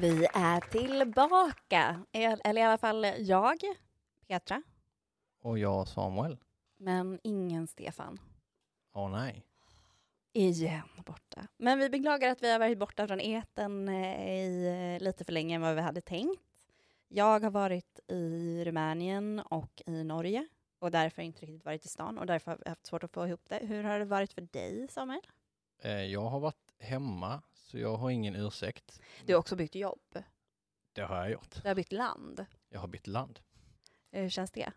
Vi är tillbaka, El- eller i alla fall jag, Petra, Och jag Samuel. men ingen Stefan. Åh nej. Igen borta. Men vi beklagar att vi har varit borta från eten i eh, lite för länge än vad vi hade tänkt. Jag har varit i Rumänien och i Norge och därför inte riktigt varit i stan och därför har vi haft svårt att få ihop det. Hur har det varit för dig, Samuel? Eh, Jag har varit hemma, så jag har ingen ursäkt. Du har också bytt jobb. Det har jag gjort. Du har bytt land. Jag har bytt land. Hur känns det?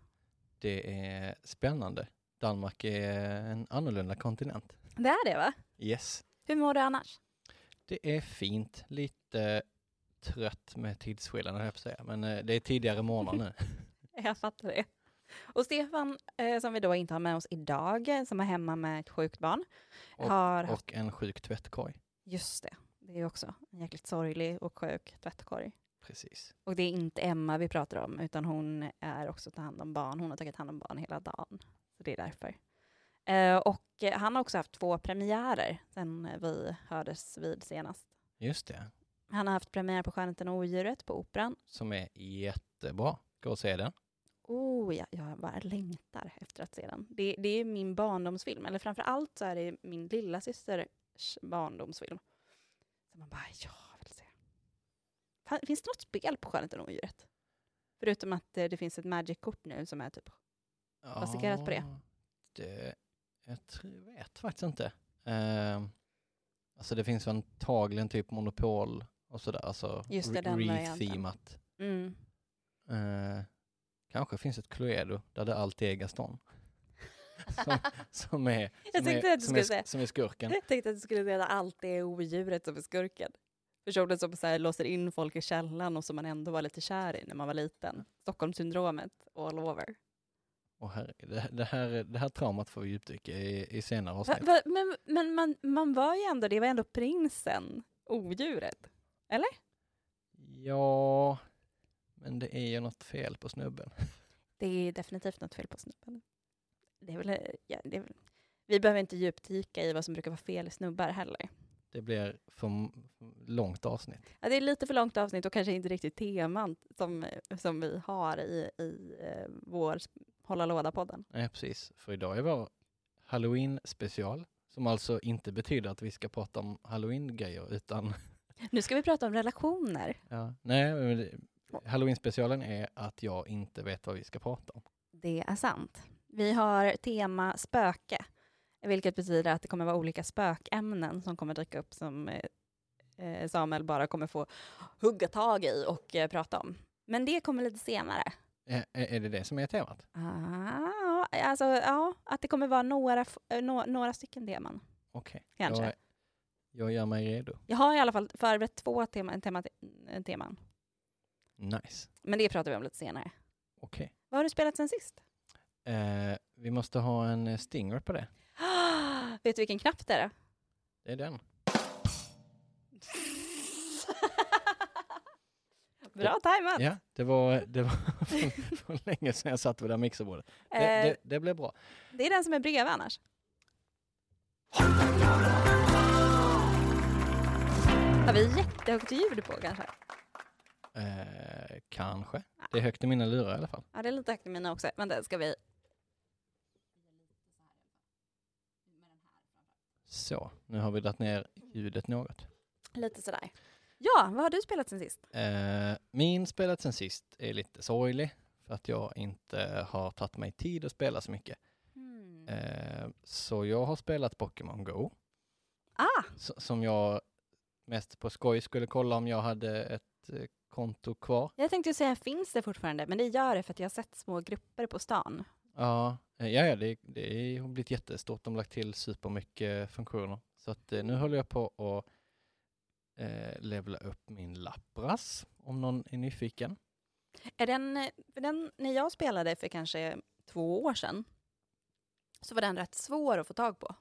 Det är spännande. Danmark är en annorlunda kontinent. Det är det, va? Yes. Hur mår du annars? Det är fint. Lite trött med tidsskillnaden, höll jag på att säga. Men eh, det är tidigare morgon nu. Jag fattar det. Och Stefan, eh, som vi då inte har med oss idag, eh, som är hemma med ett sjukt barn, Och- har haft... Och en sjuk tvättkorg. Just det, det är ju också en jäkligt sorglig och sjuk tvättkorg. Precis. Och det är inte Emma vi pratar om, utan hon är också ta hand om barn. Hon har tagit hand om barn hela dagen. Så det är därför. Eh, och eh, han har också haft två premiärer sen eh, vi hördes vid senast. Just det. Han har haft premiär på Stjärneten och odjuret på Operan. Som är jättebra. Gå och se den. Oh, jag, jag bara längtar efter att se den. Det, det är min barndomsfilm, eller framför allt så är det min lilla systers barndomsfilm. Så man bara, ja, jag vill se. Fan, Finns det något spel på Skönheten och odjuret? Förutom att eh, det finns ett Magic-kort nu som är typ... Baserat på det. Ja, det jag tror, vet faktiskt inte. Eh, alltså det finns ju antagligen typ monopol och sådär, alltså Just det, re- den varianten. rethemat. Mm. Eh, kanske finns ett Cluedo där det alltid är Gaston. som, som är, Jag som, tänkte är, att du som, skulle är, sk- säga... som är skurken. Jag tänkte att du skulle säga att allt är odjuret som är skurken. Personen som så här låser in folk i källaren och som man ändå var lite kär i när man var liten. Stockholmssyndromet all over. Och här, det, det, här, det här traumat får vi djupdyka i, i senare Va, avsnitt. va, men men man, man var ju ändå, det var ändå prinsen, odjuret. Ja, men det är ju något fel på snubben. Det är definitivt något fel på snubben. Det är väl, eh, ja, det är väl, vi behöver inte djupdyka i vad som brukar vara fel i snubbar heller. Det blir för m- långt avsnitt. Ja, det är lite för långt avsnitt och kanske inte riktigt teman som, som vi har i, i eh, vår Hålla låda-podden. Nej, precis. För idag är vår Halloween-special, som alltså inte betyder att vi ska prata om Halloween-grejer, utan... Nu ska vi prata om relationer. Ja, nej, men det- Halloween-specialen är att jag inte vet vad vi ska prata om. Det är sant. Vi har tema spöke, vilket betyder att det kommer vara olika spökämnen som kommer dyka upp som eh, eh, Samuel bara kommer få hugga tag i och eh, prata om. Men det kommer lite senare. Är, är det det som är temat? Ah, alltså, ja, att det kommer vara några, f- eh, nå- några stycken teman. Okej. Kanske. Jag, jag gör mig redo. Jag har i alla fall förberett två tema, tema, teman, Nice. men det pratar vi om lite senare. Okej. Vad har du spelat sen sist? Eh, vi måste ha en eh, stinger på det. Ah, vet du vilken knapp det är? Det är den. Bra tajmat! Ja, det var, det var för, för länge sedan jag satt vid det här mixerbordet. Det, Eh, det, det blev bra. Det är den som är bredvid annars. Har vi jättehögt ljud på kanske? Eh, kanske. Det är högt i mina lurar i alla fall. Ja, det är lite högt i mina också. Vänta, ska vi... Så, nu har vi dragit ner ljudet något. Lite sådär. Ja, vad har du spelat sen sist? Eh, min spelat sen sist är lite sorglig för att jag inte har tagit mig tid att spela så mycket. Eh, så jag har spelat Pokémon Go, Ah, s- som jag mest på skoj skulle kolla om jag hade ett eh, konto kvar. jag tänkte ju säga finns det fortfarande, men det gör det för att jag har sett små grupper på stan. Ja, eh, ja, ja, det, det har blivit jättestort. De har lagt till supermycket funktioner. Så att, eh, nu håller jag på att eh, levla upp min Lapras, om någon är nyfiken. Är den, för den, när jag spelade för kanske två år sedan så var den rätt svår att få tag på.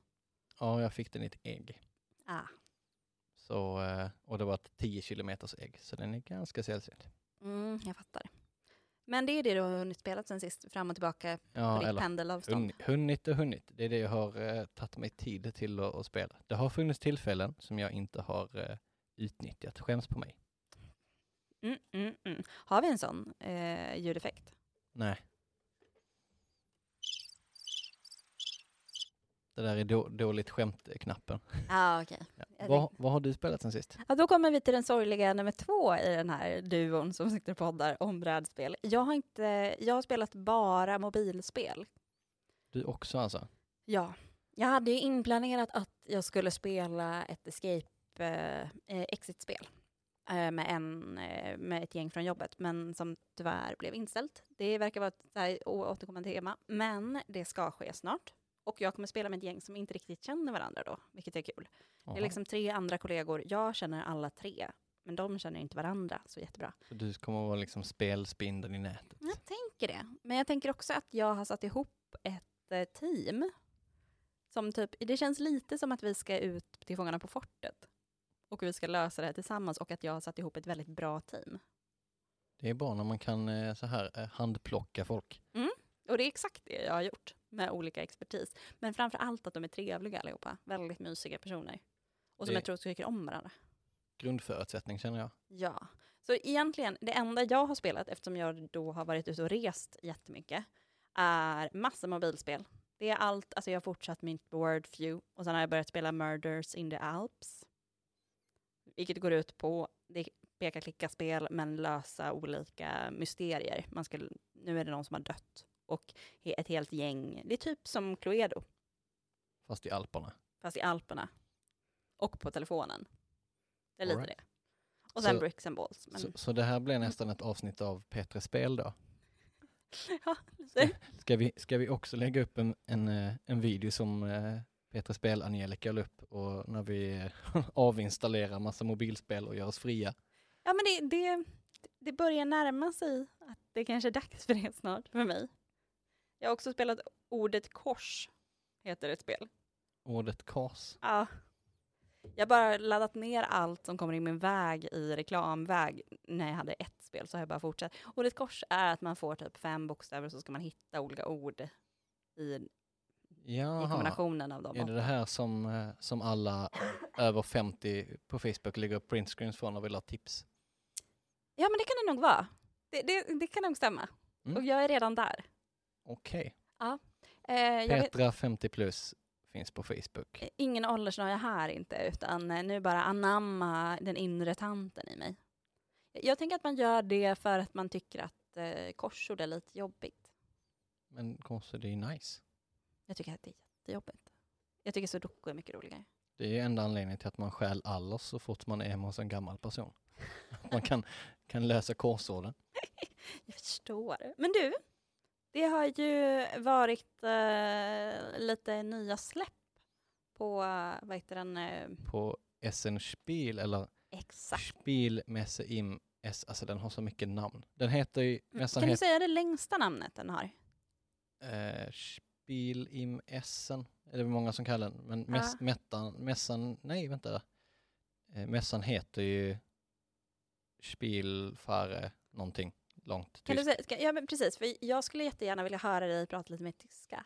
Ja, jag fick den i ett ägg. Ah. Så, eh, och det var ett 10 kilometers ägg, så den är ganska sällsynt. Mm, jag fattar. Men det är det du har hunnit spela sen sist, fram och tillbaka på Ja, ditt eller pendelavstånd. hun, hunnit och hunnit. Det är det jag har eh, tagit mig tid till att, att spela. Det har funnits tillfällen som jag inte har eh, utnyttjat. Skäms på mig. Mm, mm, mm. Har vi en sån eh, ljudeffekt? Nej. Det där är då, dåligt skämt-knappen. Ah, okay. Ja. Jag Vad, vad har du spelat sen sist? Ja, då kommer vi till den sorgliga nummer två i den här duon som sitter och poddar om brädspel. Jag har, inte, jag har spelat bara mobilspel. Du också alltså? Ja, jag hade ju inplanerat att jag skulle spela ett escape eh, eh, exit-spel eh, med, en, eh, med ett gäng från jobbet, men som tyvärr blev inställt. Det verkar vara ett så här å- återkommande tema, men det ska ske snart. Och jag kommer spela med ett gäng som inte riktigt känner varandra då, vilket är kul. Det Jaha. är liksom tre andra kollegor. Jag känner alla tre, men de känner inte varandra så jättebra. Så du kommer att vara liksom spelspindeln i nätet? Jag tänker det. Men jag tänker också att jag har satt ihop ett eh, team. Som typ, det känns lite som att vi ska ut till Fångarna på fortet. Och vi ska lösa det här tillsammans och att jag har satt ihop ett väldigt bra team. Det är bra när man kan eh, så här eh, handplocka folk. Och det är exakt det jag har gjort med olika expertis. Men framför allt att de är trevliga allihopa. Väldigt mysiga personer. Och som Det- jag tror tycker om varandra. Grundförutsättning känner jag. Ja, så egentligen det enda jag har spelat, eftersom jag då har varit ute och rest jättemycket, är massa mobilspel. Det är allt, alltså jag har fortsatt mitt Word Few och sen har jag börjat spela Murders in the Alps. Vilket går ut på, det är peka-klicka-spel men lösa olika mysterier. Man ska, nu är det någon som har dött och he- ett helt gäng, det är typ som Cluedo Fast i Alperna. fast i Alperna. Och på telefonen. Det är lite Alright. det. Och sen Så- Bricks and Balls. Men... Så, så det här blir nästan ett avsnitt av Petres spel då. Ja, ska, lite. ska, vi, ska vi också lägga upp en, en, eh, en video som eh, Petres spel Angelica la upp och när vi eh, avinstallerar massa mobilspel och gör oss fria. Ja, men det, det, det börjar närma sig att det kanske är dags för det snart för mig. Jag har också spelat ordet kors, heter ett spel. Ordet kors. Ja. Jag har bara laddat ner allt som kommer in min väg i reklamväg. När jag hade ett spel så har jag bara fortsatt. Ordet kors är att man får typ fem bokstäver och så ska man hitta olika ord i, i Jaha, kombinationen av dem. är det det här som, eh, som alla över 50 på Facebook lägger upp printscreens från och vill ha tips? Ja, men det kan det nog vara. Det, det, det kan nog stämma. Mm. Och jag är redan där. Okej, Eh, jag vet- Petra 50 plus finns på Facebook. Ingen åldersnoja här inte, utan eh, nu bara anamma den inre tanten i mig. Jag tänker att man gör det för att man tycker att eh, korsord är lite jobbigt. Men konstigt, det är ju nice. Jag tycker att det är jättejobbigt. Jag tycker sudoku är mycket roligare. Det är ju enda anledningen till att man stjäl Allers så fort man är hemma hos en gammal person. Att man kan, kan lösa korsorden. Jag förstår. Men du, det har ju varit eh, lite nya släpp på, eh, vad heter den, eh, På SN Spiel eller exakt. Spielmesse im S, alltså den har så mycket namn. Den heter ju nästan Mm, Kan du het, säga det längsta namnet den har? eh, Spiel im Essen. Det är väl många som kallar den. Men mäss, mättan, mässan, nej vänta. Eh, mässan heter ju Spielfare någonting långt. Kan du tyst. säga, ska, ja, men precis, för jag skulle jättegärna vilja höra dig prata lite mer tyska.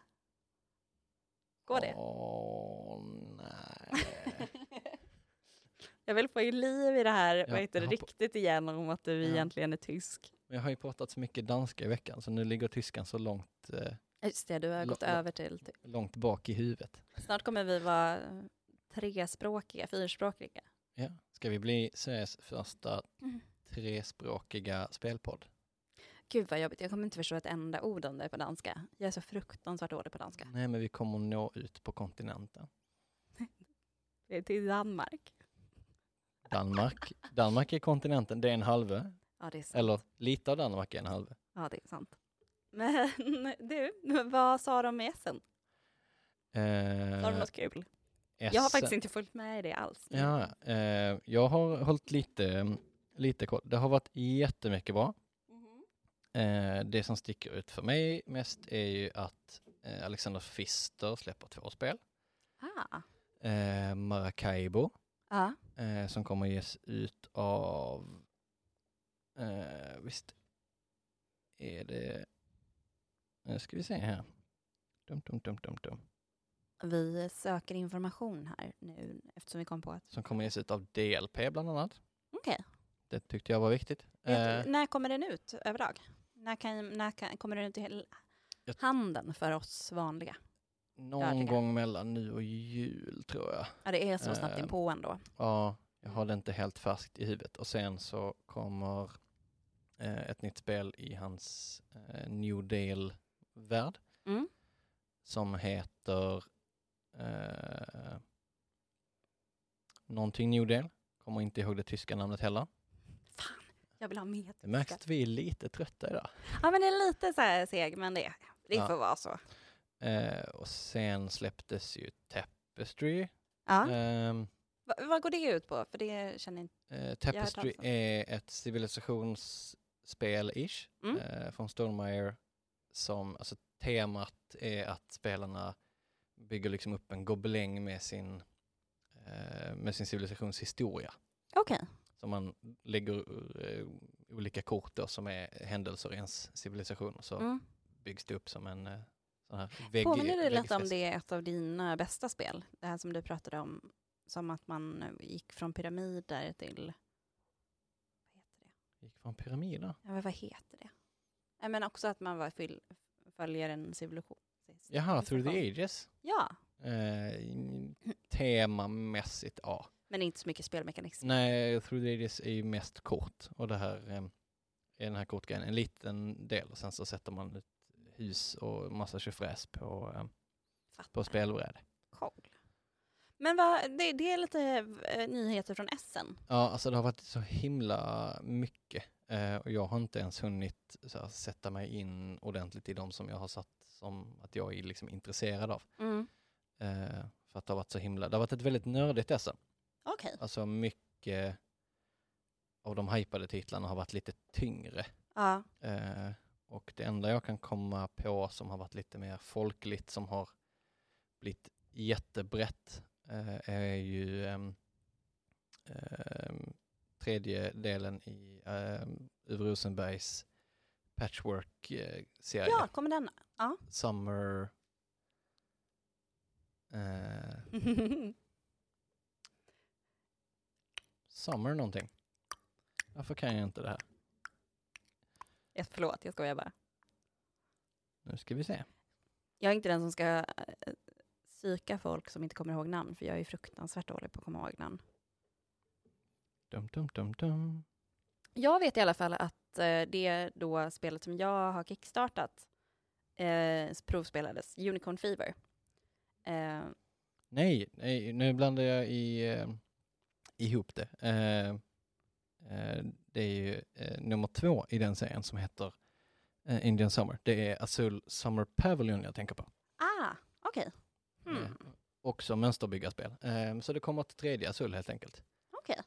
Går det? Åh, nej. jag vill få i liv i det här, vad heter det, jag har på- riktigt igen om att du Ja. egentligen är tysk. Men jag har ju pratat så mycket danska i veckan så nu ligger tyskan så långt, eh, Just det, du har Lo- gått lo- över till, till... långt bak i huvudet. Snart kommer vi vara trespråkiga, fyrspråkiga. Ja. Ska vi bli Sveriges första Mm. trespråkiga spelpodd? Gud vad jobbigt, jag kommer inte förstå ett enda ord om det på danska. Jag är så fruktansvärt dålig på danska. Nej, men vi kommer nå ut på kontinenten. Det är till Danmark. Danmark, Danmark är kontinenten, det är en halvö. Ja, det är sant. Eller lite av Danmark är en halvö. Ja, det är sant. Men du, vad sa de i Essen? Sa de Eh, något kul? Jag har Essen- faktiskt inte följt med i det alls. Ja, eh, jag har hållit lite, lite koll. Det har varit jättemycket bra. Eh, det som sticker ut för mig mest är ju att eh, Alexander Fister släpper två spel. Ah. Eh, Maracaibo, Ja. eh, som kommer ges ut av, eh, visst är det, nu ska vi se här. Dum, dum, dum, dum, dum. Vi söker information här nu eftersom vi kom på att... Som kommer ges ut av DLP bland annat. Okej. Det tyckte jag var viktigt. Eh, Vet du, När kommer den ut överlag? När, kan, när kan, kommer den ut i hel- Jag- handen för oss vanliga? någon det. gång mellan nu och jul tror jag. Ja, det är så snabbt Eh, inpå ändå. Ja, jag har det inte helt färskt i huvudet. Och sen så kommer eh, ett nytt spel i hans eh, New Deal-värld Mm. som heter eh, någonting New Deal. Kommer inte ihåg det tyska namnet heller. Fan, jag vill ha mer Det märks att vi är lite trötta idag. Ja, men det är lite så här seg, men det, det Ja. får vara så. Eh, och sen släpptes ju Tapestry. Ja. Ehm, Va, vad går det ut på? För det känner inte... Eh, Jag har hört Tapestry talas om är ett civilisationsspel-ish Mm. eh, från Stonemaier. Som, alltså, temat är att spelarna bygger liksom upp en gobeläng med sin, eh, med sin civilisationshistoria. Okej. Så man lägger eh, olika kort då, som är händelser i ens civilisation och så Mm. byggs det upp som en eh, sån här vägg. Påminner det lite väggfäst. om det är ett av dina bästa spel? Det här som du pratade om, som att man eh, gick från pyramider till... Vad heter det? Gick från pyramider. Ja, men vad heter det? Nej, men också att man var fyll, följer en civilisation. Jaha, Through civilisation. the Ages. Ja, Eh, temamässigt, ja. men inte så mycket spelmekanism. Nej, Through the Ages är ju mest kort och det här eh, är den här kortgrejen en liten del och sen så sätter man ett hus och massa tjofräs på, eh, Fattar. på spelbräde. Cool. Men vad, det, det är lite eh, nyheter från Essen. Ja, alltså det har varit så himla mycket eh, och jag har inte ens hunnit så här, sätta mig in ordentligt i de som jag har satt som att jag är liksom intresserad av. Eh, för att det har varit så himla, det har varit ett väldigt nördigt SM. Okej. Alltså mycket av de hypade titlarna har varit lite tyngre. Ja. Eh, och det enda jag kan komma på som har varit lite mer folkligt, som har blivit jättebrett, eh, är ju ehm, ehm, tredje delen i ehm, Uwe Rosenbergs patchwork-serie. ja, kommer den? Summer... Eh, summer någonting. Varför kan jag inte det här? Ja, Förlåt, jag skojar bara. Nu ska vi se. Jag är inte den som ska eh, psyka folk som inte kommer ihåg namn, för jag är fruktansvärt dålig på att komma ihåg namn. Dum, dum, dum, dum. Jag vet i alla fall att eh, det då spelet som jag har kickstartat eh, provspelades, Unicorn Fever. Eh, Nej, nej, nu blandar jag i, eh, ihop det. Eh, eh, det är ju eh, nummer två i den serien som heter eh, Indian Summer. Det är Azul Summer Pavilion jag tänker på. ah, okej. Hmm, Eh, också mönsterbyggarspel. Eh, så det kommer ett tredje Azul helt enkelt. okej.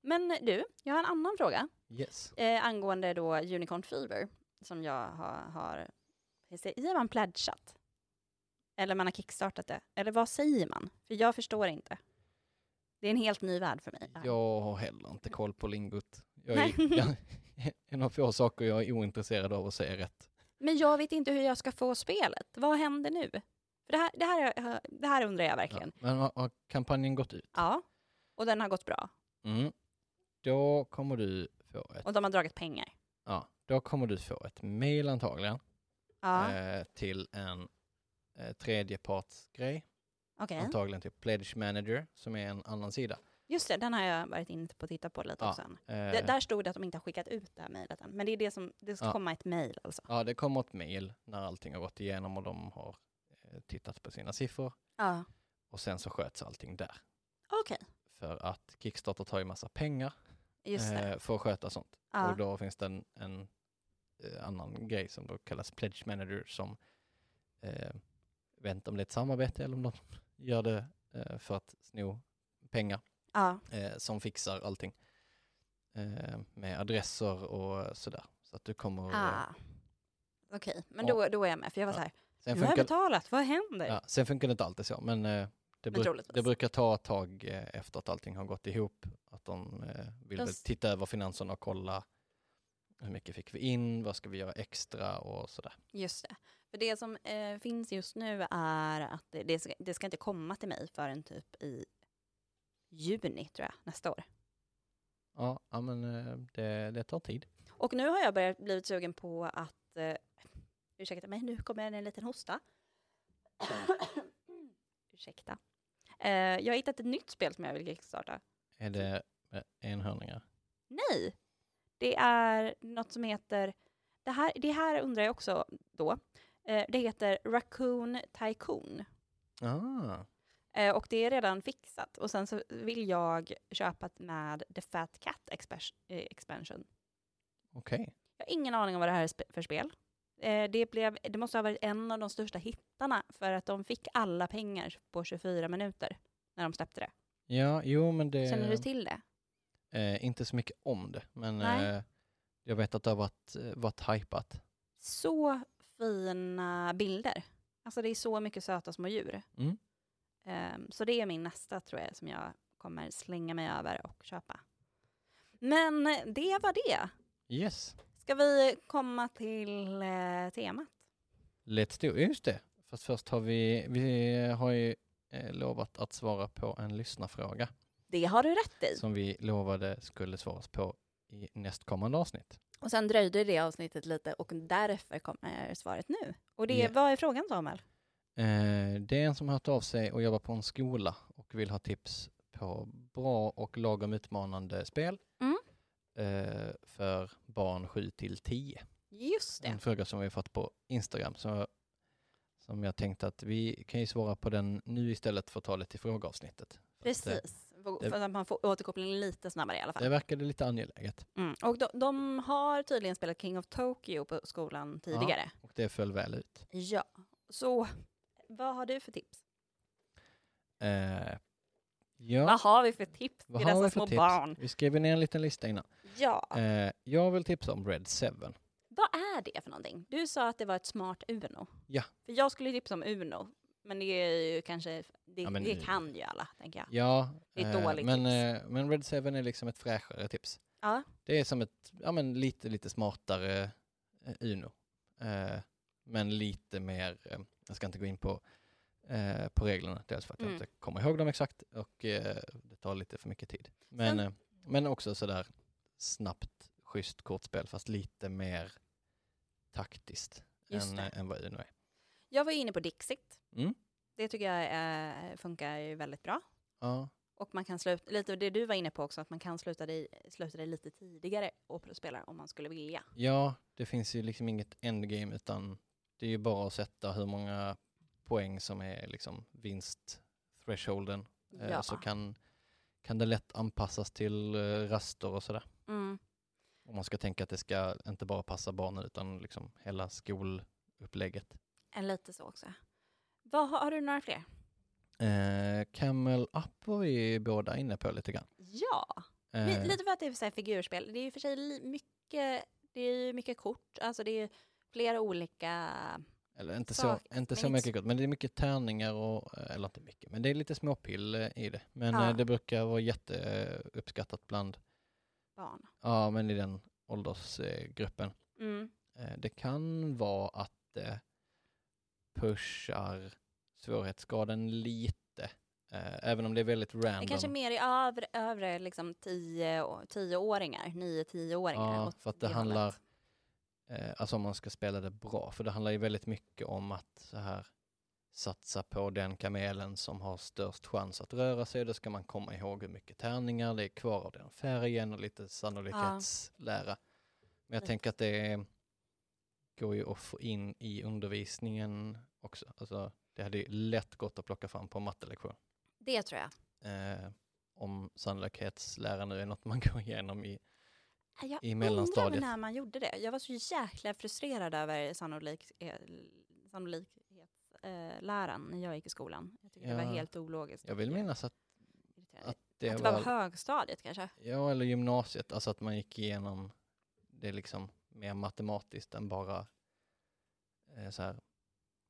Men du, jag har en annan fråga Yes. eh, angående då Unicorn Fever som jag har... har säger man pledgat? Eller man har kickstartat det? Eller vad säger man? För jag förstår inte. Det är en helt ny värld för mig. det här. Jag har heller inte koll på lingot. Jag Nej. är, jag, en av få saker jag är ointresserad av att säga rätt. Men jag vet inte hur jag ska få spelet. Vad händer nu? För det, här, det, här, det här undrar jag Ja. verkligen. Men har, har kampanjen gått ut? Ja. Och den har gått bra. Mm. Då kommer du få ett Och de har dragit pengar. Ja, då kommer du få ett mail antagligen Ja, eh, till en eh, tredjepartsgrej, okej. antagligen till Pledge Manager som är en annan sida. Just det, den har jag varit inne på och tittat på lite Ja. också. Eh, D- där stod det att de inte har skickat ut det här mejlet än. Men det är det som, det ska Ja. komma ett mejl alltså. Ja, det kommer ett mail när allting har gått igenom och de har eh, tittat på sina siffror Ja, och sen så sköts allting där. okej. För att Kickstarter tar ju massa pengar Just det. eh, för att sköta sånt. Ja. Och då finns det en, en eh, annan grej som då kallas Pledge Manager som eh, vet inte om det är ett samarbete eller om de gör det eh, för att sno pengar ja. eh, som fixar allting eh, med adresser och sådär. Så Så att du kommer... Ah. Okej, men Ja. då, då är jag med. För jag var Ja. så här, Sen, nu har jag funkar, betalat, vad händer? ja, sen funkar det inte alltid så, men eh, det, Men bruk, troligtvis. det brukar ta ett tag eh, efter att allting har gått ihop. Att de eh, vill De väl s- titta över finanserna och kolla hur mycket fick vi in, vad ska vi göra extra och sådär. Just det. För det som eh, finns just nu är att det, det, ska, det ska inte komma till mig förrän typ i juni, tror jag, nästa år. Ja, ja men eh, det, det tar tid. Och nu har jag börjat blivit sugen på att, eh, ursäkta mig, nu kommer en liten hosta. ursäkta. Eh, jag har hittat ett nytt spel som jag vill kickstarta. Är det eh, enhörningar? Nej, det är något som heter, det här, det här undrar jag också då, eh, det heter Raccoon Tycoon. Ah, Eh, och det är redan fixat. Och sen så vill jag köpa med The Fat Cat expers- eh, Expansion. okej. Jag har ingen aning om vad det här är spe- för spel. Eh, det, blev, det måste ha varit en av de största hittarna för att de fick alla pengar på 24 minuter när de släppte det. Ja, jo men det... Känner du till det? Eh, inte så mycket om det, men Nej. eh, jag vet att det har varit, eh, varit hypat. Så fina bilder. Alltså det är så mycket söta små djur. Mm. Ehm, så det är min nästa tror jag som jag kommer slänga mig över och köpa. Men det var det. Yes, Ska vi komma till eh, temat? let's do Just det, fast först har vi, vi har ju eh, lovat att svara på en lyssnarfråga Det har du rätt i. som vi lovade skulle svaras på i nästkommande avsnitt. Och sen dröjde det avsnittet lite och därför kommer svaret nu. Och det, Ja. vad är frågan Samuel? Eh, det är en som har hört av sig och jobbar på en skola och vill ha tips på bra och lagom utmanande spel Mm. eh, för barn 7 till 10. Just det. en fråga som vi fått på Instagram som, som jag tänkte att vi kan ju svara på den nu istället för att ta det till frågeavsnittet. För att, eh, Precis. För det- för att man får återkoppling lite snabbare i alla Det fall. verkade lite angeläget Mm. Och de, de har tydligen spelat King of Tokyo på skolan tidigare. och det föll väl ut. Ja. Så vad har du för tips? Eh, ja, Vad har vi för tips vad till har dessa vi för små tips? barn? Vi skrev ner en liten lista innan. Ja, Eh, jag vill tipsa om Red 7. vad är det för någonting? Du sa att det var ett smart Uno. Ja. För jag skulle tipsa om Uno, men det är ju kanske, det, Ja, men det nu- kan ju alla, tänker jag. Ja, Det är ett dåligt men, tips. eh, men Red 7 är liksom ett fräschare tips. Ja. Det är som ett ja, men lite, lite smartare eh, Uno. Eh, men lite mer, eh, jag ska inte gå in på, eh, på reglerna, dels för att Mm. jag inte kommer ihåg dem exakt och eh, det tar lite för mycket tid. Men, Sen- eh, men också sådär snabbt, schysst kortspel fast lite mer taktiskt Just än, det. eh, än vad Uno är. Jag var ju inne på Dixit. Mm. Det tycker jag eh, funkar ju väldigt bra. Ja, Och man kan sluta, lite det du var inne på också, att man kan sluta dig, sluta dig lite tidigare och spela om man skulle vilja. ja, det finns ju liksom inget endgame utan det är ju bara att sätta hur många poäng som är liksom vinst-thresholden Eh, Ja. Så kan, kan det lätt anpassas till eh, raster och sådär. Mm. Om man ska tänka att det ska inte bara passa barnen utan liksom hela skolupplägget. Eh, Lite så också. Vad, har har du några fler? Eh, Camel Up var vi båda inne på lite grann. Ja, li- Eh, lite för att det är så här figurspel. Det är ju för sig li- mycket, det är ju mycket kort, alltså det är flera olika... Eh, eller inte så, sak- inte så men inte mycket gott, men det är mycket tärningar och, eh, eller inte mycket, men det är lite småpill eh, i det. Men Ja. eh, det brukar vara jätteuppskattat bland, barn. ja men i den åldersgruppen. Mm. Eh, Det kan vara att det pushar svårighetsgraden lite. eh, Även om det är väldigt random. Det kanske är mer i övre, övre liksom tio, å- tioåringar, nio, tioåringar. Ja, åt för att det hållet. handlar- eh, Alltså om man ska spela det bra. För det handlar ju väldigt mycket om att så här satsa på den kamelen som har störst chans att röra sig. Då ska man komma ihåg hur mycket tärningar det är kvar av den färgen och lite sannolikhetslära. Men jag Lite. tänker att det går ju att få in i undervisningen också. Alltså, det hade ju lätt gått att plocka fram på en mattelektion. Det tror jag. eh, om sannolikhetslära nu är något man går igenom i. Äh, Jag I mellanstadiet. undrar när man gjorde det. Jag var så jäkla frustrerad över sannolik, eh, sannolikhetsläran när jag gick i skolan. Jag tyckte det Ja. var helt ologiskt. Jag och vill minnas att irriterande. att det, Att det var var, högstadiet kanske? ja eller gymnasiet, alltså att man gick igenom det liksom mer matematiskt än bara eh, så här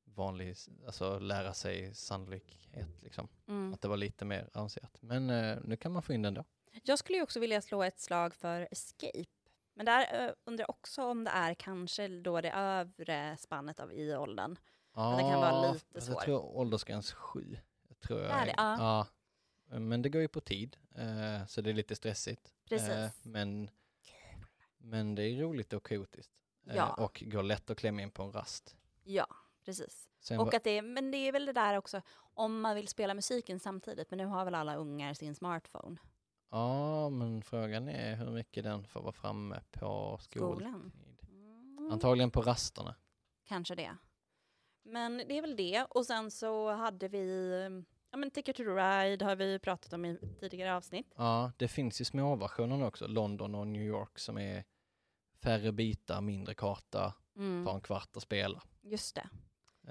vanlig, s- alltså lära sig sannolikhet liksom. Mm. Att det var lite mer avancerat. Men eh, nu kan man få in den då. Jag skulle ju också vilja slå ett slag för escape. Men där eh, undrar jag också om det är kanske då det övre spannet av i-åldern. det kan vara Ja, lite fast Jag svår. tror åldersgräns 7. Jag tror jag Är det? Ja. Ja. Men det går ju på tid, eh, så det är lite stressigt. Precis. Eh, Men, men det är roligt och kaotiskt. Eh, Ja. Och går lätt att klämma in på en rast. Ja, precis. Sen Och var- att det är, men det är väl det där också, om man vill spela musiken samtidigt, men nu har väl alla ungar sin smartphone? Ja, men frågan är hur mycket den får vara framme på skolan. Skolan? Mm. Antagligen på rasterna. Kanske det. Men det är väl det. Och sen så hade vi, eh, ja men Ticket to Ride har vi pratat om i tidigare avsnitt. Ja, det finns ju småversioner nu också. London och New York som är färre bitar, mindre karta, Mm. tar en kvart att spela. Just det.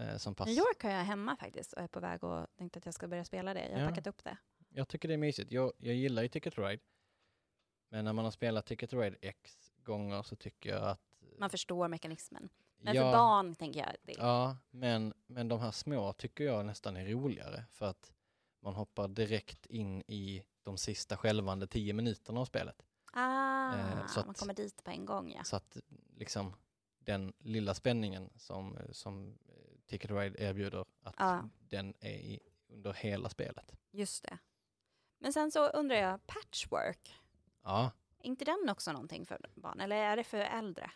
Eh, som pass. New York har jag hemma faktiskt och är på väg och tänkte att jag ska börja spela det. Jag har Ja. packat upp det. Jag tycker det är mysigt. Jag, jag gillar ju Ticket to Ride. Men när man har spelat Ticket to Ride x gånger så tycker jag att... Man förstår mekanismen. Men jag, för barn tänker jag att det är Ja, men, men de här små tycker jag nästan är roligare för att man hoppar direkt in i de sista skälvande tio minuterna av spelet. ah, Eh, så man att- kommer dit på en gång ja. Så att liksom den lilla spänningen som, som eh, Ticket to Ride erbjuder, att Ja. den är i, under hela spelet. Just det. Men sen så undrar jag, patchwork, Ja, är inte den också någonting för barn? Eller är det för äldre?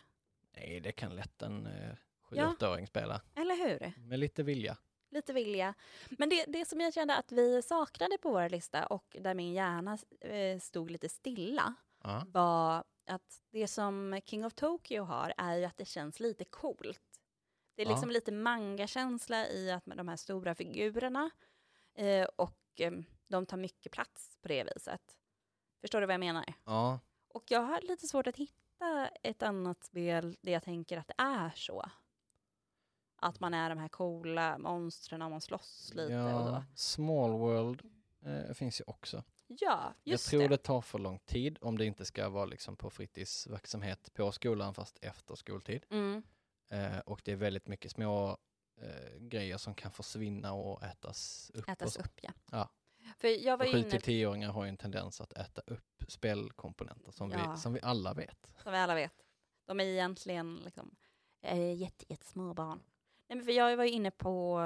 nej det kan lätt en eh, Ja. 7-8-åring spela. Eller hur? Med lite vilja. Lite vilja. Men det, det som jag kände att vi saknade på vår lista och där min hjärna eh, stod lite stilla Ja. var att det som King of Tokyo har är ju att det känns lite coolt. Det är Ja. liksom lite manga-känsla i att med de här stora figurerna eh, och eh, de tar mycket plats på det viset. Förstår du vad jag menar? ja. Och jag har lite svårt att hitta ett annat spel där jag tänker att det är så. Att man är de här coola monstren och man slåss lite och så. Small World eh, finns ju också. Ja, just jag tror det. det. tar för lång tid om det inte ska vara liksom på fritidsverksamhet på skolan fast efter skoltid. Mm, Eh, och det är väldigt mycket små eh, grejer som kan försvinna och ätas upp. och ätas så. upp, ja. Ja. För jag var ju inne, 7-10-åringar har ju en tendens att äta upp spelkomponenter som, Ja. vi, som vi alla vet. som vi alla vet, de är egentligen liksom, eh, jätte, jättesmå barn. Nej, men för jag var ju inne på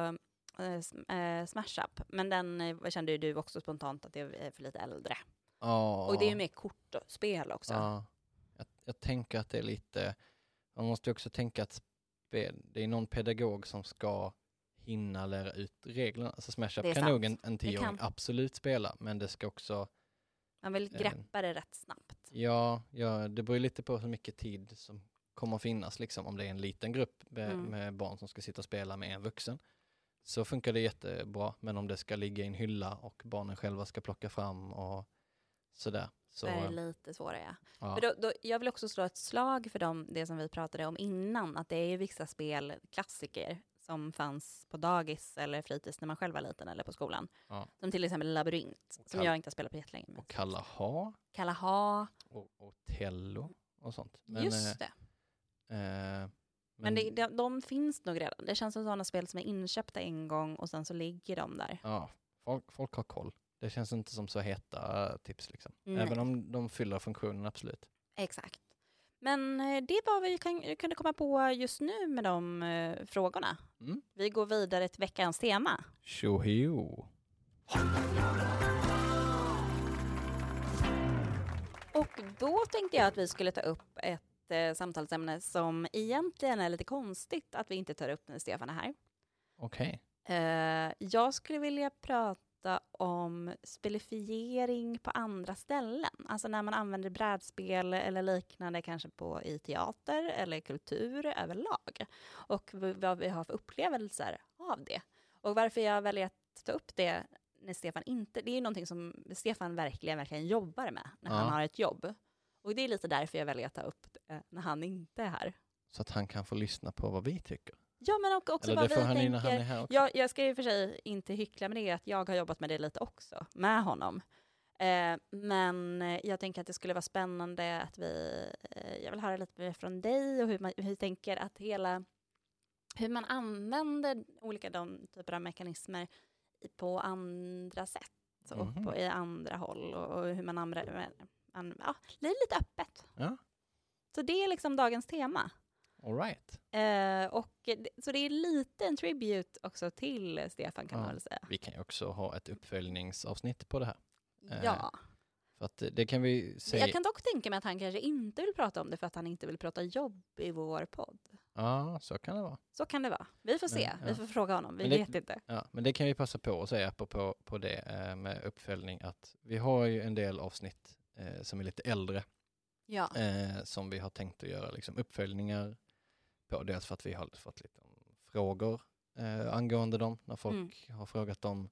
eh, sm- eh, Smash Up, men den eh, kände ju du också spontant att det är eh, för lite äldre. Ja. Och det är ju mer kortspel också. Ja. Jag, jag tänker att det är lite, man måste ju också tänka att spe- det är någon pedagog som ska hinna lära ut reglerna. Alltså Smash Up Det är kan nog en, sant. en tioåring absolut spela, men det ska också, Man vill Eh. greppa det rätt snabbt. ja, ja det beror ju lite på hur mycket tid som kommer att finnas, liksom om det är en liten grupp med, Mm. med barn som ska sitta och spela med en vuxen, så funkar det jättebra, men om det ska ligga i en hylla och barnen själva ska plocka fram och sådär. Så, Det är Eh, lite svårare. Ja. ja. Men då, då, jag vill också slå ett slag för dem, det som vi pratade om innan, att det är ju vissa spelklassiker som fanns på dagis eller fritids när man själv var liten eller på skolan. Ja. Som till exempel Labyrint, som Kal- jag inte har spelat på jättelänge. Men Och Kalaha Kalaha, och Otello och sånt. just det. eh, eh, Men, det, de, de finns nog redan. Det känns som sådana spel som är inköpta en gång och sen så ligger de där. Ja, folk, folk har koll. Det känns inte som så heta eh, tips liksom. Nej. Även om de fyller funktionen, absolut. Mm. Exakt. Men eh, det var vad vi kan, kunde komma på just nu med de eh, frågorna. Mm. Vi går vidare till veckans tema. Tjoho! Och då tänkte jag att vi skulle ta upp ett eh, samtalsämne som egentligen är lite konstigt att vi inte tar upp när Stefan är här. Okej. Eh, jag skulle vilja prata om spelifiering på andra ställen. Alltså när man använder brädspel eller liknande kanske på, i teater eller kultur överlag. Och v- vad vi har för upplevelser av det. Och varför jag väljer att ta upp det när Stefan inte... Det är ju någonting som Stefan verkligen, verkligen jobbar med när han Ja. har ett jobb. Och det är lite därför jag väljer att ta upp det när han inte är här. Så att han kan få lyssna på vad vi tycker. Ja, men och också Eller vad det vi får han ju tänker. när han är här också. Jag, jag ska ju för sig inte hyckla med det, att jag har jobbat med det lite också, med honom. Eh, men eh, jag tänker att det skulle vara spännande att vi, eh, jag vill höra lite mer från dig och hur, man, hur du tänker att hela, hur man använder olika de typer av mekanismer i- på andra sätt och Mhm. på, i andra håll och, och hur man använder, an, ja, det är lite öppet. Ja. Så det är liksom dagens tema. All right. Eh, och det, så det är lite en tribute också till Stefan kan Ja. man väl säga. Vi kan ju också ha ett uppföljningsavsnitt på det här. Eh, Ja. För att eh, det kan vi säga. Jag kan dock tänka mig att han kanske inte vill prata om det för att han inte vill prata jobb i vår podd. Ja, så kan det vara. Så kan det vara. Vi får Men, se. ja. Vi får fråga honom. Vi Men det- vet inte. Ja, men det kan vi passa på att säga apropå på det eh, med uppföljning att vi har ju en del avsnitt eh, som är lite äldre Ja. eh, som vi har tänkt att göra liksom, uppföljningar på. Dels för att vi har fått lite frågor eh, angående dem när folk har frågat om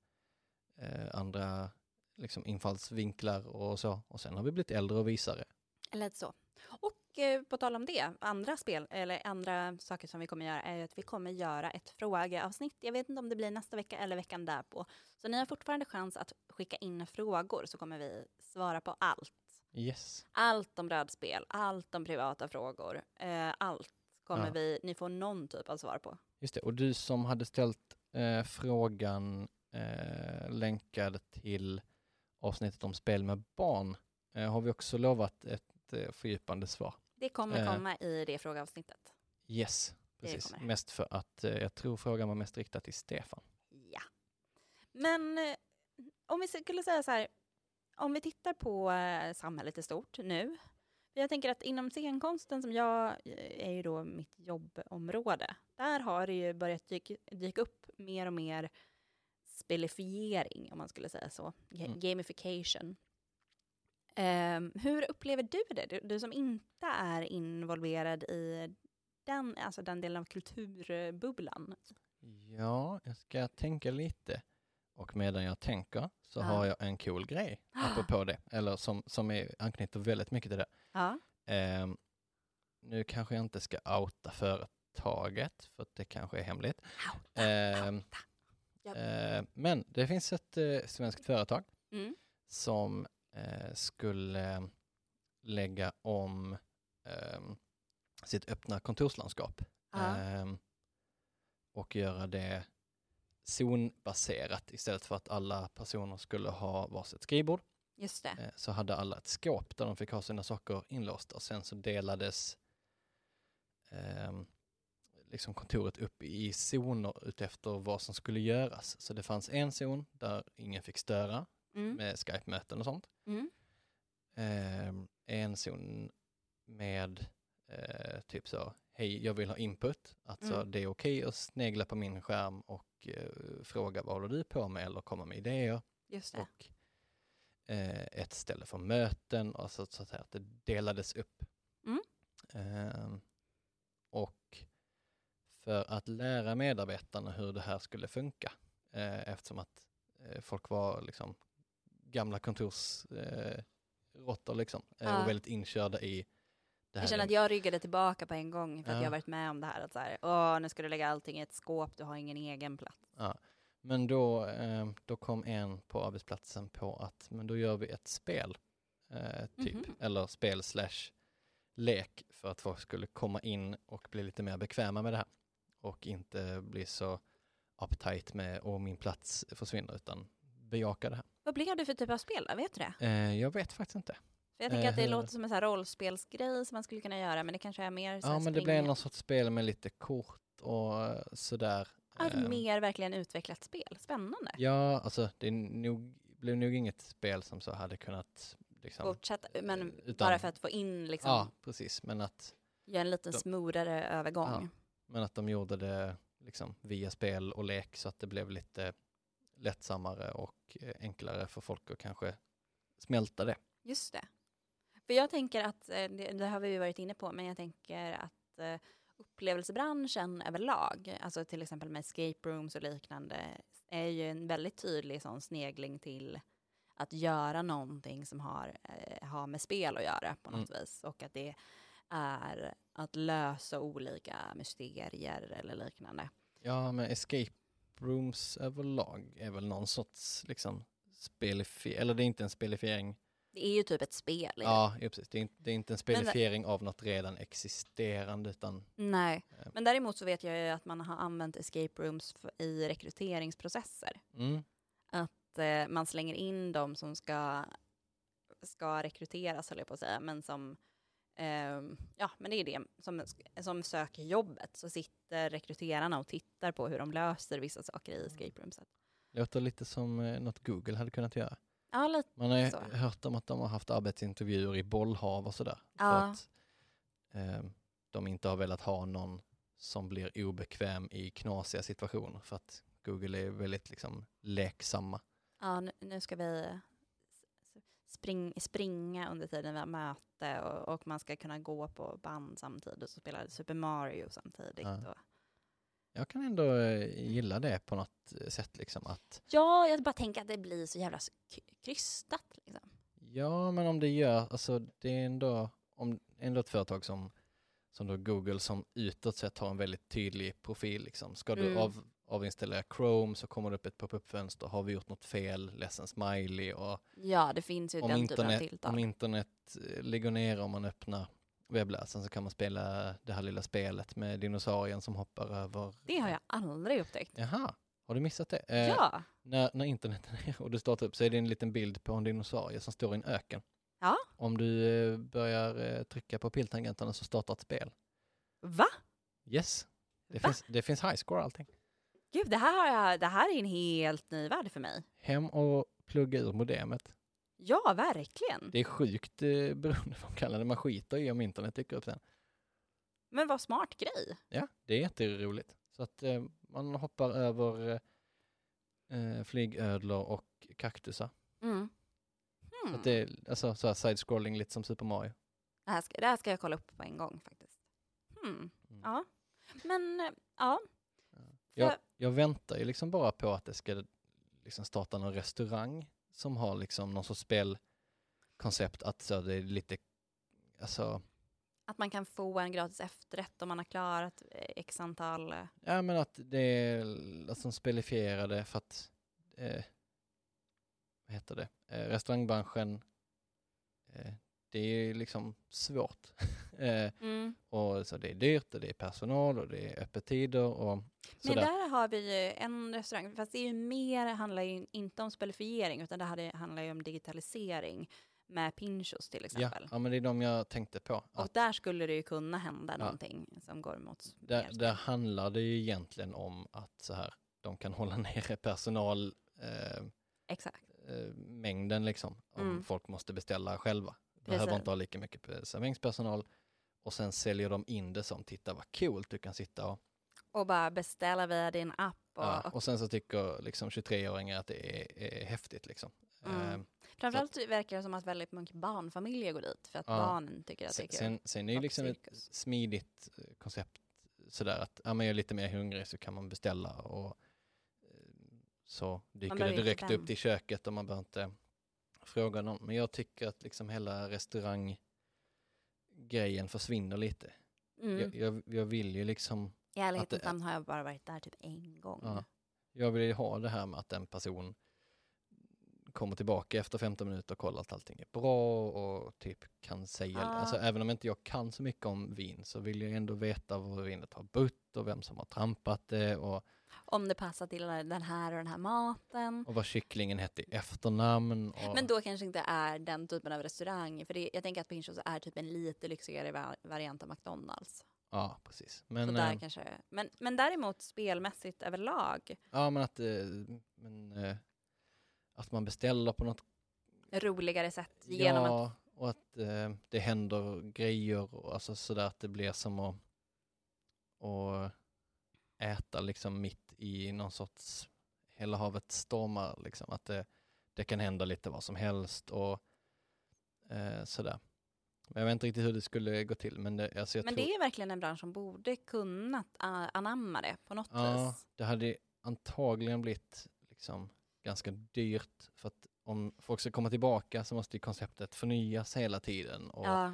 eh, andra liksom, infallsvinklar och så. Och sen har vi blivit äldre och visare. Lite så. Och eh, på tal om det, andra spel, eller andra saker som vi kommer göra är ju att vi kommer göra ett frågeavsnitt. Jag vet inte om det blir nästa vecka eller veckan därpå. Så ni har fortfarande chans att skicka in frågor så kommer vi svara på allt. Yes. Allt om rödspel, allt om privata frågor, eh, allt kommer Ja. vi, ni får någon typ av svar på. Just det, och du som hade ställt eh, frågan eh, länkad till avsnittet om spel med barn eh, har vi också lovat ett eh, fördjupande svar. Det kommer Eh. komma i det frågeavsnittet. Yes, Det precis. kommer. Mest för att eh, jag tror frågan var mest riktad till Stefan. Ja. Men eh, om vi skulle säga så här, om vi tittar på eh, samhället i stort nu. Jag tänker att inom scenkonsten, som jag eh, är ju då mitt jobbområde, där har det ju börjat dyka, dyka upp mer och mer spelifiering, om man skulle säga så. Ga- Mm. Gamification. Ehm, hur upplever du det? Du, du som inte är involverad i den, alltså den delen av kulturbubblan. Ja, jag ska tänka lite. Och medan jag tänker så Ja. har jag en cool grej apropå det, eller som, som är, anknyter väldigt mycket till det. Ja. Ehm, nu kanske jag inte ska outa företaget, för att det kanske är hemligt. Ehm, Japp. eh, men det finns ett eh, svenskt företag Mm. som eh, skulle lägga om ehm, sitt öppna kontorslandskap Ja. Ehm, och göra det zonbaserat istället för att alla personer skulle ha varsitt skrivbord Just det. eh, så hade alla ett skåp där de fick ha sina saker inlåsta och sen så delades ehm, liksom kontoret upp i zoner utefter vad som skulle göras. Så det fanns en zon där ingen fick störa Mm. med Skype-möten och sånt. Mm. Ehm, en zon med eh, typ så, hej jag vill ha input, alltså Mm. det är okej att snegla på min skärm och eh, fråga vad håller du på med eller komma med idéer Just det. och eh, ett ställe för möten och så, så att, säga att det delades upp. Mm. Ehm, och för att lära medarbetarna hur det här skulle funka eh, eftersom att eh, folk var liksom gamla kontorsråttor eh, råttor liksom eh, Ja. och väldigt inkörda i det här. Jag känner är- att jag ryggade tillbaka på en gång för att Ja. jag har varit med om det här. Att så här Åh, nu ska du lägga allting i ett skåp, du har ingen egen plats. Men då, ehm, då kom en på arbetsplatsen på att men då gör vi ett spel, eh, typ, Mhm. eller spel slash lek för att folk skulle komma in och bli lite mer bekväma med det här och inte bli så uptight med och min plats försvinner utan bejaka det här. Vad blev det för typ av spel då? Vet du det? Eh, jag vet faktiskt inte. För jag tänker att det Eh, låter som en så här rollspelsgrej som man skulle kunna göra, men det kanske är mer så här Ja men det spring- blev någon sorts spel med lite kort och eh, sådär. Ja, ett Ehm, mer verkligen utvecklat spel. Spännande. Ja, alltså det är nog, blev nog inget spel som så hade kunnat liksom, Fortsätt, men eh, utan- bara för att få in liksom, Ja, precis. Men att, göra en liten De- smoothare övergång. Ja. men att de gjorde det liksom via spel och lek så att det blev lite lättsammare och eh, enklare för folk att kanske smälta det. Just det. För jag tänker att, eh, det, det har vi ju varit inne på, men jag tänker att eh, upplevelsebranschen överlag, alltså till exempel med escape rooms och liknande, är ju en väldigt tydlig sån snegling till att göra någonting som har, eh, har med spel att göra på något vis. Och att det är att lösa olika mysterier eller liknande. Ja, men escape rooms överlag är väl någon sorts liksom spelifiering, eller det är inte en spelifiering. Det är ju typ ett spel. är Ja, ja precis. Det är, inte, det är inte en det- spelifiering av något redan existerande utan det. Nej. Eh. Men däremot så vet jag ju att man har använt escape rooms f- i rekryteringsprocesser. mm, Att eh, man slänger in dem som ska, ska rekryteras, höll jag på att säga, men som ehm, Ja, men det är det som, som söker jobbet, så sitter rekryterarna och tittar på hur de löser vissa saker i escape rooms. låter lite som eh, något Google hade kunnat göra. Ja, lite Man har ju Så. hört om att de har haft arbetsintervjuer i bollhav och sådär. För Ja. att eh, de inte har velat ha någon som blir obekväm i knasiga situationer. För att Google är väldigt liksom leksamma. Ja, nu, nu ska vi eh, s- spring, springa under tiden vi har möte och, och man ska kunna gå på band samtidigt och spela Super Mario samtidigt. Ja. Och... Jag kan ändå eh, gilla det på något eh, sätt. Liksom, att Ja, jag bara tänker att det blir så jävla s- k- krystat. Liksom. Ja, men om det gör, alltså det är ändå, om, ändå ett företag som, som då Google som utåt sett har en väldigt tydlig profil. Liksom. Ska du Mm. av, avinstallera Chrome så kommer det upp ett pop-up-fönster. Har vi gjort något fel? Ledsen smiley. Och Ja, det finns ju om, den typen av internet, om tilltal. internet eh, ligger ner om man öppnar webbläsaren så kan man spela det här lilla spelet med dinosaurien som hoppar över. Det har jag aldrig upptäckt. Jaha, har du missat det? Eh, Ja, när, när internet är ner och du startar upp så är det en liten bild på en dinosaurie som står i en öken. Ja. Om du eh, börjar eh, trycka på piltangenterna så startar ett spel. va? Yes, det Va? finns, det finns highscore och allting. Gud, det här, har jag, det här är en helt ny värld för mig. Hem och plugga ur modemet. Ja, verkligen. Det är sjukt eh, beroende på vad man kallar det. Man skiter i om internet dyker upp sen. Men vad smart grej. Ja, det är jätteroligt. Så att eh, man hoppar över eh, eh, flygödlor och kaktusar. Mm. Så Hmm. att det är alltså, så här side-scrolling lite som Super Mario. Det här, ska, det här ska jag kolla upp på en gång faktiskt. Hmm. Mm. Ja, men eh, ja. Jag, För- jag väntar ju liksom bara på att det ska liksom starta någon restaurang som har liksom någon sorts spelkoncept att så det är lite, alltså, Att man kan få en gratis efterrätt om man har klarat eh, x antal... eh, ja men att det är liksom spelifierade för att, eh, vad heter det, eh, restaurangbranschen, eh, det är ju liksom svårt. eh, och så det är dyrt och det är personal och det är öppettider och Men sådär. där har vi ju en restaurang, fast det är ju mer, handlar ju inte om spelifiering, utan det här handlar ju om digitalisering med Pinchos till ja, exempel. ja men det är de jag tänkte på. Och där skulle det ju kunna hända någonting som går mot... Där, mer där handlar det ju egentligen om att så här, de kan hålla nere personalmängden eh, Exakt. eh, mängden liksom, om Mm. folk måste beställa själva. Behöver Precis. inte ha lika mycket pe- serveringspersonal. Och sen säljer de in det som, titta vad coolt du kan sitta och... Och bara beställa via din app. Och, Ja, och och sen så tycker liksom 23-åringar att det är, är häftigt liksom. Mm. Eh, framförallt verkar det som att väldigt många barnfamiljer går dit, för att Ja. barnen tycker att det är sen, kul. sen, sen är det Och liksom ett cirkus. smidigt eh, koncept sådär att, ja men jag är lite mer hungrig så kan man beställa och eh, så dyker det behöver inte direkt upp vän. till köket och man behöver inte fråga någon. Men jag tycker att liksom hela restauranggrejen försvinner lite. Mm. Jag, jag, jag vill ju liksom, I ärlighetens det är- namn har jag bara varit där typ en gång. ja, jag vill ju ha det här med att en person kommer tillbaka efter 15 minuter och kollar att allting är bra och typ kan säga, Ah. alltså även om inte jag kan så mycket om vin så vill jag ändå veta vad vinet har butt och vem som har trampat det och Om det passar till den här och den här maten. och vad kycklingen hette i efternamn. Och, Mm. Men då kanske inte är den typen av restaurang. För det, jag tänker att Pinchos är typ en lite lyxigare va- variant av McDonalds. ja, precis. Så Men, där eh, kanske, men, men däremot spelmässigt överlag, ja, men, att, eh, men eh, att man beställer på något. roligare sätt genom att... ja, och att eh, det händer grejer och alltså sådär att det blir som att, att äta liksom mitt i någon sorts hela havet stormar liksom. Att det, det kan hända lite vad som helst och eh, sådär. Men jag vet inte riktigt hur det skulle gå till men det, alltså jag Men tror... det är verkligen en bransch som borde kunnat eh, anamma det på något Ja, vis. det hade antagligen blivit liksom ganska dyrt för att om folk ska komma tillbaka så måste ju konceptet förnyas hela tiden och Ja,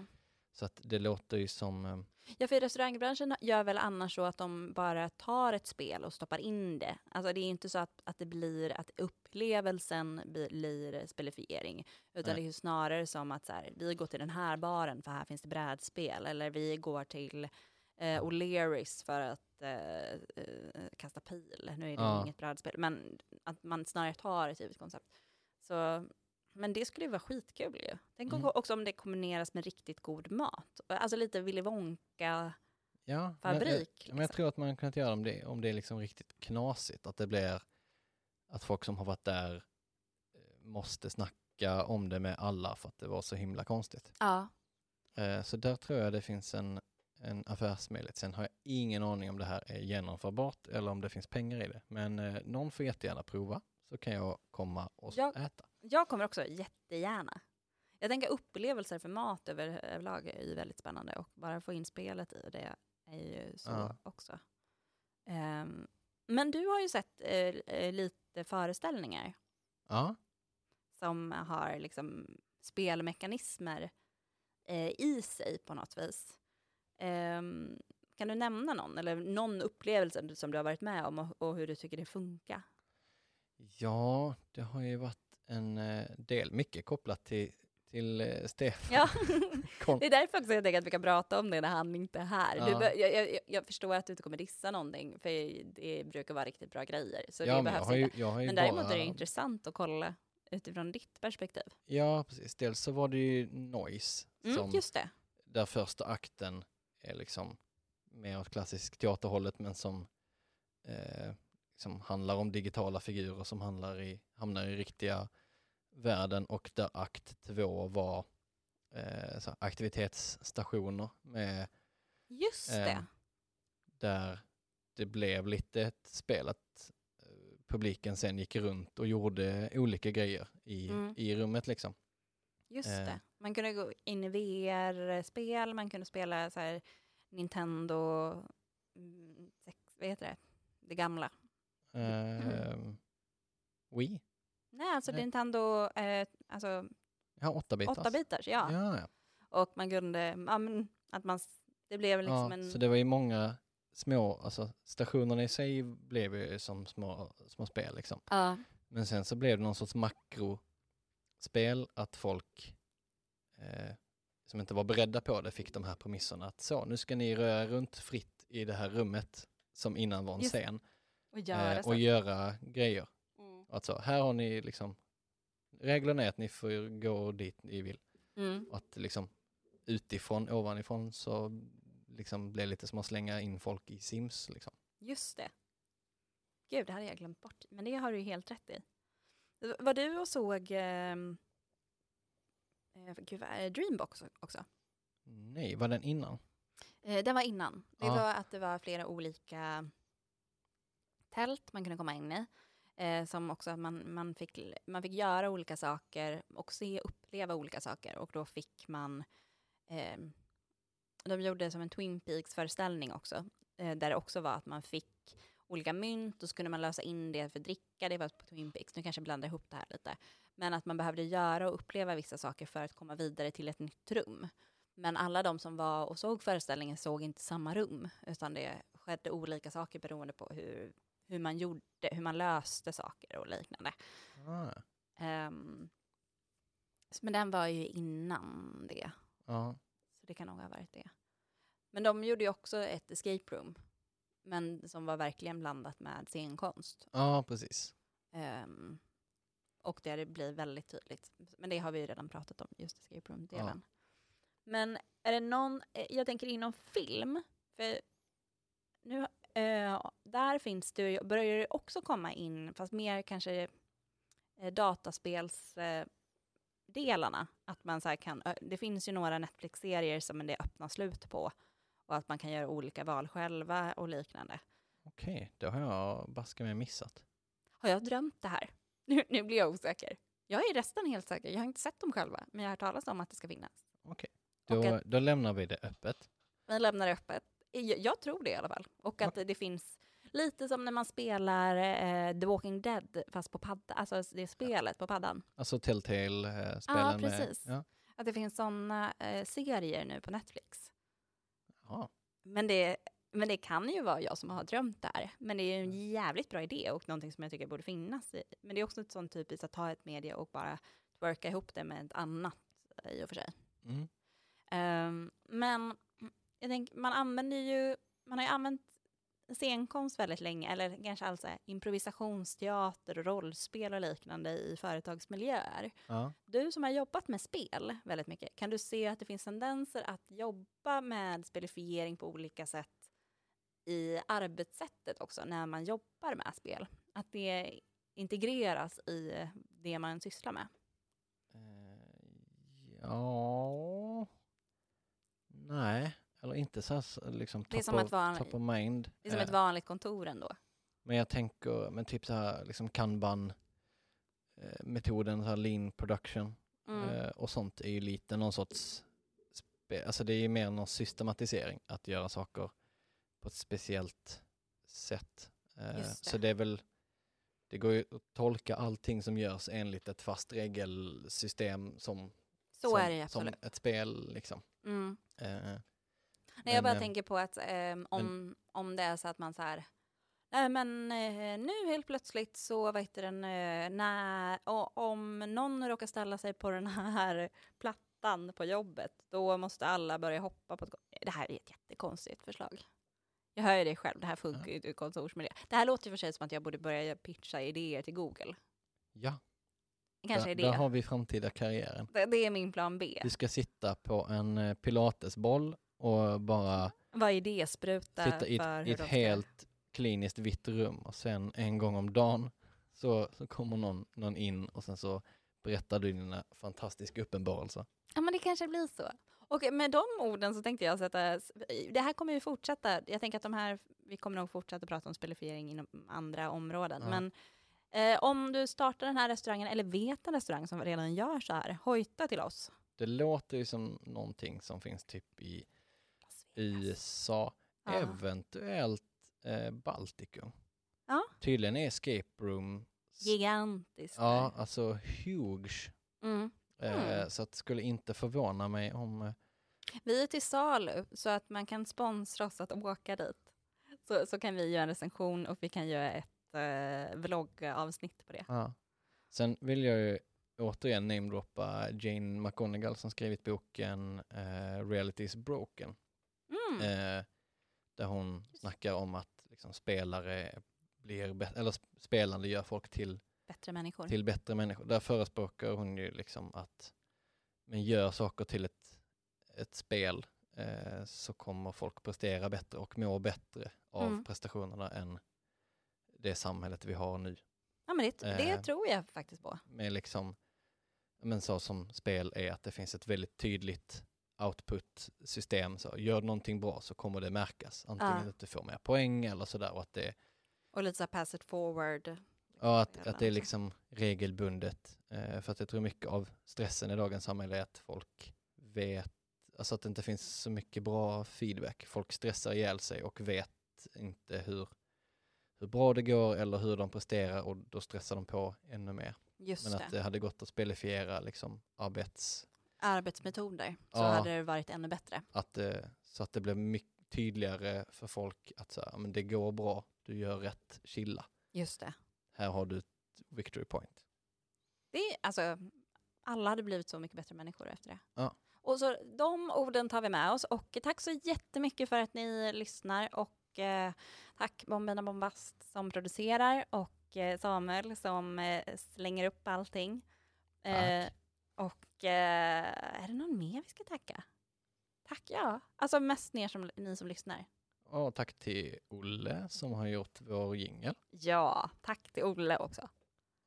Så att det låter ju som, eh, Ja, för restaurangbranschen gör väl annars så att de bara tar ett spel och stoppar in det. Alltså det är ju inte så att, att det blir att upplevelsen blir spelifiering, utan Nej. det är ju snarare som att så här, vi går till den här baren för här finns det brädspel, eller vi går till eh, O'Learys för att eh, eh, kasta pil. Nu är det Ja. inget brädspel, men att man snarare tar ett givet koncept. Så, men det skulle ju vara skitkul ju. Tänk Mm. mm. också om det kombineras med riktigt god mat. Alltså lite Willy Wonka-fabrik. liksom. ja. men jag- Ja, Men jag tror att man kan inte göra det om det, om det är liksom riktigt knasigt, att det blir att folk som har varit där eh, måste snacka om det med alla för att det var så himla konstigt. Ja. Eh, Så där tror jag det finns en, en affärsmöjlighet. Sen har jag ingen aning om det här är genomförbart eller om det finns pengar i det. Men eh, någon får jättegärna prova så kan jag komma och Jag- äta. Jag kommer också jättegärna. Jag tänker upplevelser för mat över, överlag är ju väldigt spännande och bara få in spelet i det är ju så Ja. också. Ehm, men du har ju sett eh, eh, lite föreställningar Ja, som har liksom spelmekanismer eh, i sig på något vis. Ehm, kan du nämna någon, eller någon upplevelse du- som du har varit med om och, och hur du tycker det funkar? ja det har ju varit en eh, del, mycket kopplat till, till eh, Stefan. Ja, Kon- det är därför också jag tänker att vi kan prata om det när han inte är här. Du, Ja. bör- jag, jag, jag förstår att du inte kommer dissa någonting, för det brukar vara riktigt bra grejer. Så det ja, men jag behövs har ju, inte. jag har ju Men däremot bara... är det intressant att kolla utifrån ditt perspektiv. Ja, precis. Dels så var det ju Noise, Mm, som, Just det. där första akten är liksom mer åt klassisk teaterhållet men som eh, liksom handlar om digitala figurer som handlar i, hamnar i riktiga världen och där akt två var eh, så här aktivitetsstationer med Just Ehm, det. där det blev lite ett spel att eh, publiken sen gick runt och gjorde olika grejer i, Mm. i rummet liksom. Just eh. det. Man kunde gå in i VR-spel, man kunde spela så här Nintendo, mm, sex, vad heter det? Det gamla. Eh, Wii? Nej, alltså Nej. Nintendo, eh, alltså Ja, åtta bitars. åtta bitars, ja. ja, ja. Och man kunde, ja, men, att man, s- det blev liksom ja, en... Så det var ju många små, alltså stationerna i sig blev ju som små, små spel liksom. Ja, Men sen så blev det någon sorts makrospel att folk eh, som inte var beredda på det fick de här premisserna att så, nu ska ni röra runt fritt i det här rummet som innan var en Just det, scen och göra eh, så. och göra grejer. Och Att så, här har ni liksom, reglerna är att ni får gå dit ni vill. Mm. Och att liksom utifrån, ovanifrån så liksom blev det lite som att slänga in folk i Sims. Liksom. Just det. Gud, det hade jag glömt bort. Men det har du ju helt rätt i. Var du och såg ehm, eh, gud, vad är det, Dreambox också? Nej, var den innan? Eh, den var innan. Det Ja. var att det var flera olika tält man kunde komma in i. Eh, som också att man, man, fick, man fick göra olika saker och se uppleva olika saker. Och då fick man... Eh, de gjorde som en Twin Peaks-föreställning också. Eh, där det också var att man fick olika mynt och så kunde man lösa in det för dricka. Det var på Twin Peaks. Nu kanske jag blandar ihop det här lite. Men att man behövde göra och uppleva vissa saker för att komma vidare till ett nytt rum. Men alla de som var och såg föreställningen såg inte samma rum, utan det skedde olika saker beroende på hur, hur man gjorde, hur man löste saker och liknande. Ah, Ehm, s- men den var ju innan det, ja. så det kan nog ha varit det. Men de gjorde ju också ett escape room, men som var verkligen blandat med scenkonst. ja, precis. Ehm, och där det blir väldigt tydligt. Men det har vi ju redan pratat om, just escape room-delen. Men är det någon, eh, jag tänker inom film, för nu, eh, där finns det, ju- börjar det också komma in, fast mer kanske eh, dataspelsdelarna. Eh, delarna. att man så här kan, ö- det finns ju några Netflix-serier som det är öppna slut på och att man kan göra olika val själva och liknande. Okej, det har jag baske mig missat. Har jag drömt det här? Nu, nu blir jag osäker. Jag är nästan helt säker. Jag har inte sett dem själva, men jag har hört talas om att det ska finnas. Okej, Och då, att då lämnar vi det öppet. vi lämnar det öppet. Eh, Jag, jag tror det i alla fall. Och att det finns lite som när man spelar eh, The Walking Dead, fast på padda, alltså det spelet på paddan. Alltså Telltale-spelen. precis. Med, ja. Att det finns sådana eh, serier nu på Netflix. Ja, Men det, men det kan ju vara jag som har drömt där. Men det är ju en jävligt bra idé och någonting som jag tycker borde finnas i. Men det är också ett sånt typiskt att ta ett media och bara worka ihop det med ett annat eh, i och för sig. mm. Ehm, men jag tänker, man använder ju, man har ju använt scenkonst väldigt länge, eller kanske alltså improvisationsteater och rollspel och liknande i företagsmiljöer. ja. Du som har jobbat med spel väldigt mycket, kan du se att det finns tendenser att jobba med spelifiering på olika sätt i arbetssättet också, när man jobbar med spel? Att det integreras i det man sysslar med? Eh, ja. Nej, eller inte så här s- liksom Det är top, som of, att vara- top of mind. Det är som Eh, ett vanligt kontor ändå. Men jag tänker, men typ så här liksom kanban eh, metoden, så här lean production Mm. eh, och sånt är ju lite någon sorts, spe, alltså det är ju mer någon systematisering att göra saker på ett speciellt sätt. Eh, Just så det. det är väl, det går ju att tolka allting som görs enligt ett fast regelsystem som, Så som, är det ju som absolut. ett spel liksom. Mm. Eh, Nej, jag Men, bara eh, tänker på att ehm, om, om det är så att man så här, nej men eh, nu helt plötsligt så, vad heter den, eh, när, o- om någon råkar ställa sig på den här plattan på jobbet, då måste alla börja hoppa på ett go- Det här är ett jättekonstigt förslag. Jag hör ju det själv, det här funkar ju inte i kontorsmiljö. Det här låter ju för sig som att jag borde börja pitcha idéer till Google. ja, Kanske där, är där det. har vi framtida karriären. Det, det är min plan B. Du ska sitta på en eh, pilatesboll och bara Vad är det spruta sitta i för ett, hur i ett de ska- helt kliniskt vitt rum och sen en gång om dagen så, så kommer någon, någon in och sen så berättar du dina fantastiska uppenbarelser. Ja, men det kanske blir så. Och med de orden så tänkte jag sätta... Det här kommer ju fortsätta. Jag tänker att de här... Vi kommer nog fortsätta prata om spelifiering inom andra områden. Ja. Men eh, om du startar den här restaurangen, eller vet en restaurang som redan gör så här, hojta till oss. Det låter ju som någonting som finns typ i USA, Ja. eventuellt eh, Baltikum. Ja. Tydligen är escape room, Gigantiskt. ja alltså huge. Mm. Eh, Mm. så att det skulle inte förvåna mig om eh, Vi är till salu, så att man kan sponsra oss att åka dit. Så, så kan vi göra en recension och vi kan göra ett eh, vloggavsnitt på det. Ja. Sen vill jag ju återigen namedroppa Jane McGonigal som skrivit boken eh, Reality is broken. Mm. Eh, där hon snackar om att liksom, spelare blir bet- eller sp- spelande gör folk till, Bättre människor. till bättre människor. Där förespråkar hon ju liksom att men gör saker till ett, ett spel eh, så kommer folk prestera bättre och må bättre av Mm. prestationerna än det samhället vi har nu. Ja, men det, det Eh. tror jag faktiskt på. med liksom, men så som spel är att det finns ett väldigt tydligt output-system. Så gör du någonting bra så kommer det märkas. Antingen Ja. att du får mer poäng eller sådär. Och att det, Och lite så här pass it forward. ja, att, Jävlar, att det är alltså. liksom regelbundet. Eh, för att jag tror mycket av stressen i dagens samhälle är att folk vet, alltså att det inte finns så mycket bra feedback. Folk stressar ihjäl sig och vet inte hur, hur bra det går eller hur de presterar och då stressar de på ännu mer. Just Men att det. det hade gått att spelifiera liksom arbets... Arbetsmetoder. Så Ja. hade det varit ännu bättre. Att det, så att det blev mycket tydligare för folk att så här, "Ja, men det går bra, du gör rätt, chilla. Just det. Här har du ett victory point. det är, alltså, alla hade blivit så mycket bättre människor efter det. Ja. Och så de orden tar vi med oss. Och tack så jättemycket för att ni lyssnar. Och eh, tack Bombina Bombast som producerar. Och eh, Samuel som eh, slänger upp allting. Eh, Tack. och eh, är det någon mer vi ska tacka? Tack ja. Alltså mest ni som, ni som lyssnar. Och tack till Olle som har gjort vår jingel. Ja, tack till Olle också.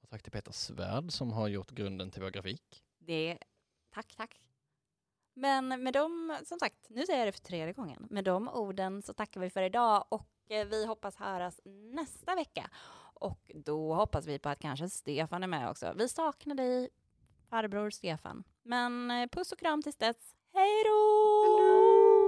Och tack till Peter Svärd som har gjort grunden till vår grafik. Det, tack, tack. Men med de, som sagt, nu säger jag det för tredje gången, med de orden så tackar vi för idag och eh, vi hoppas höras nästa vecka. Och då hoppas vi på att kanske Stefan är med också. Vi saknar dig, farbror Stefan. Men eh, puss och kram tills dess. Hej då!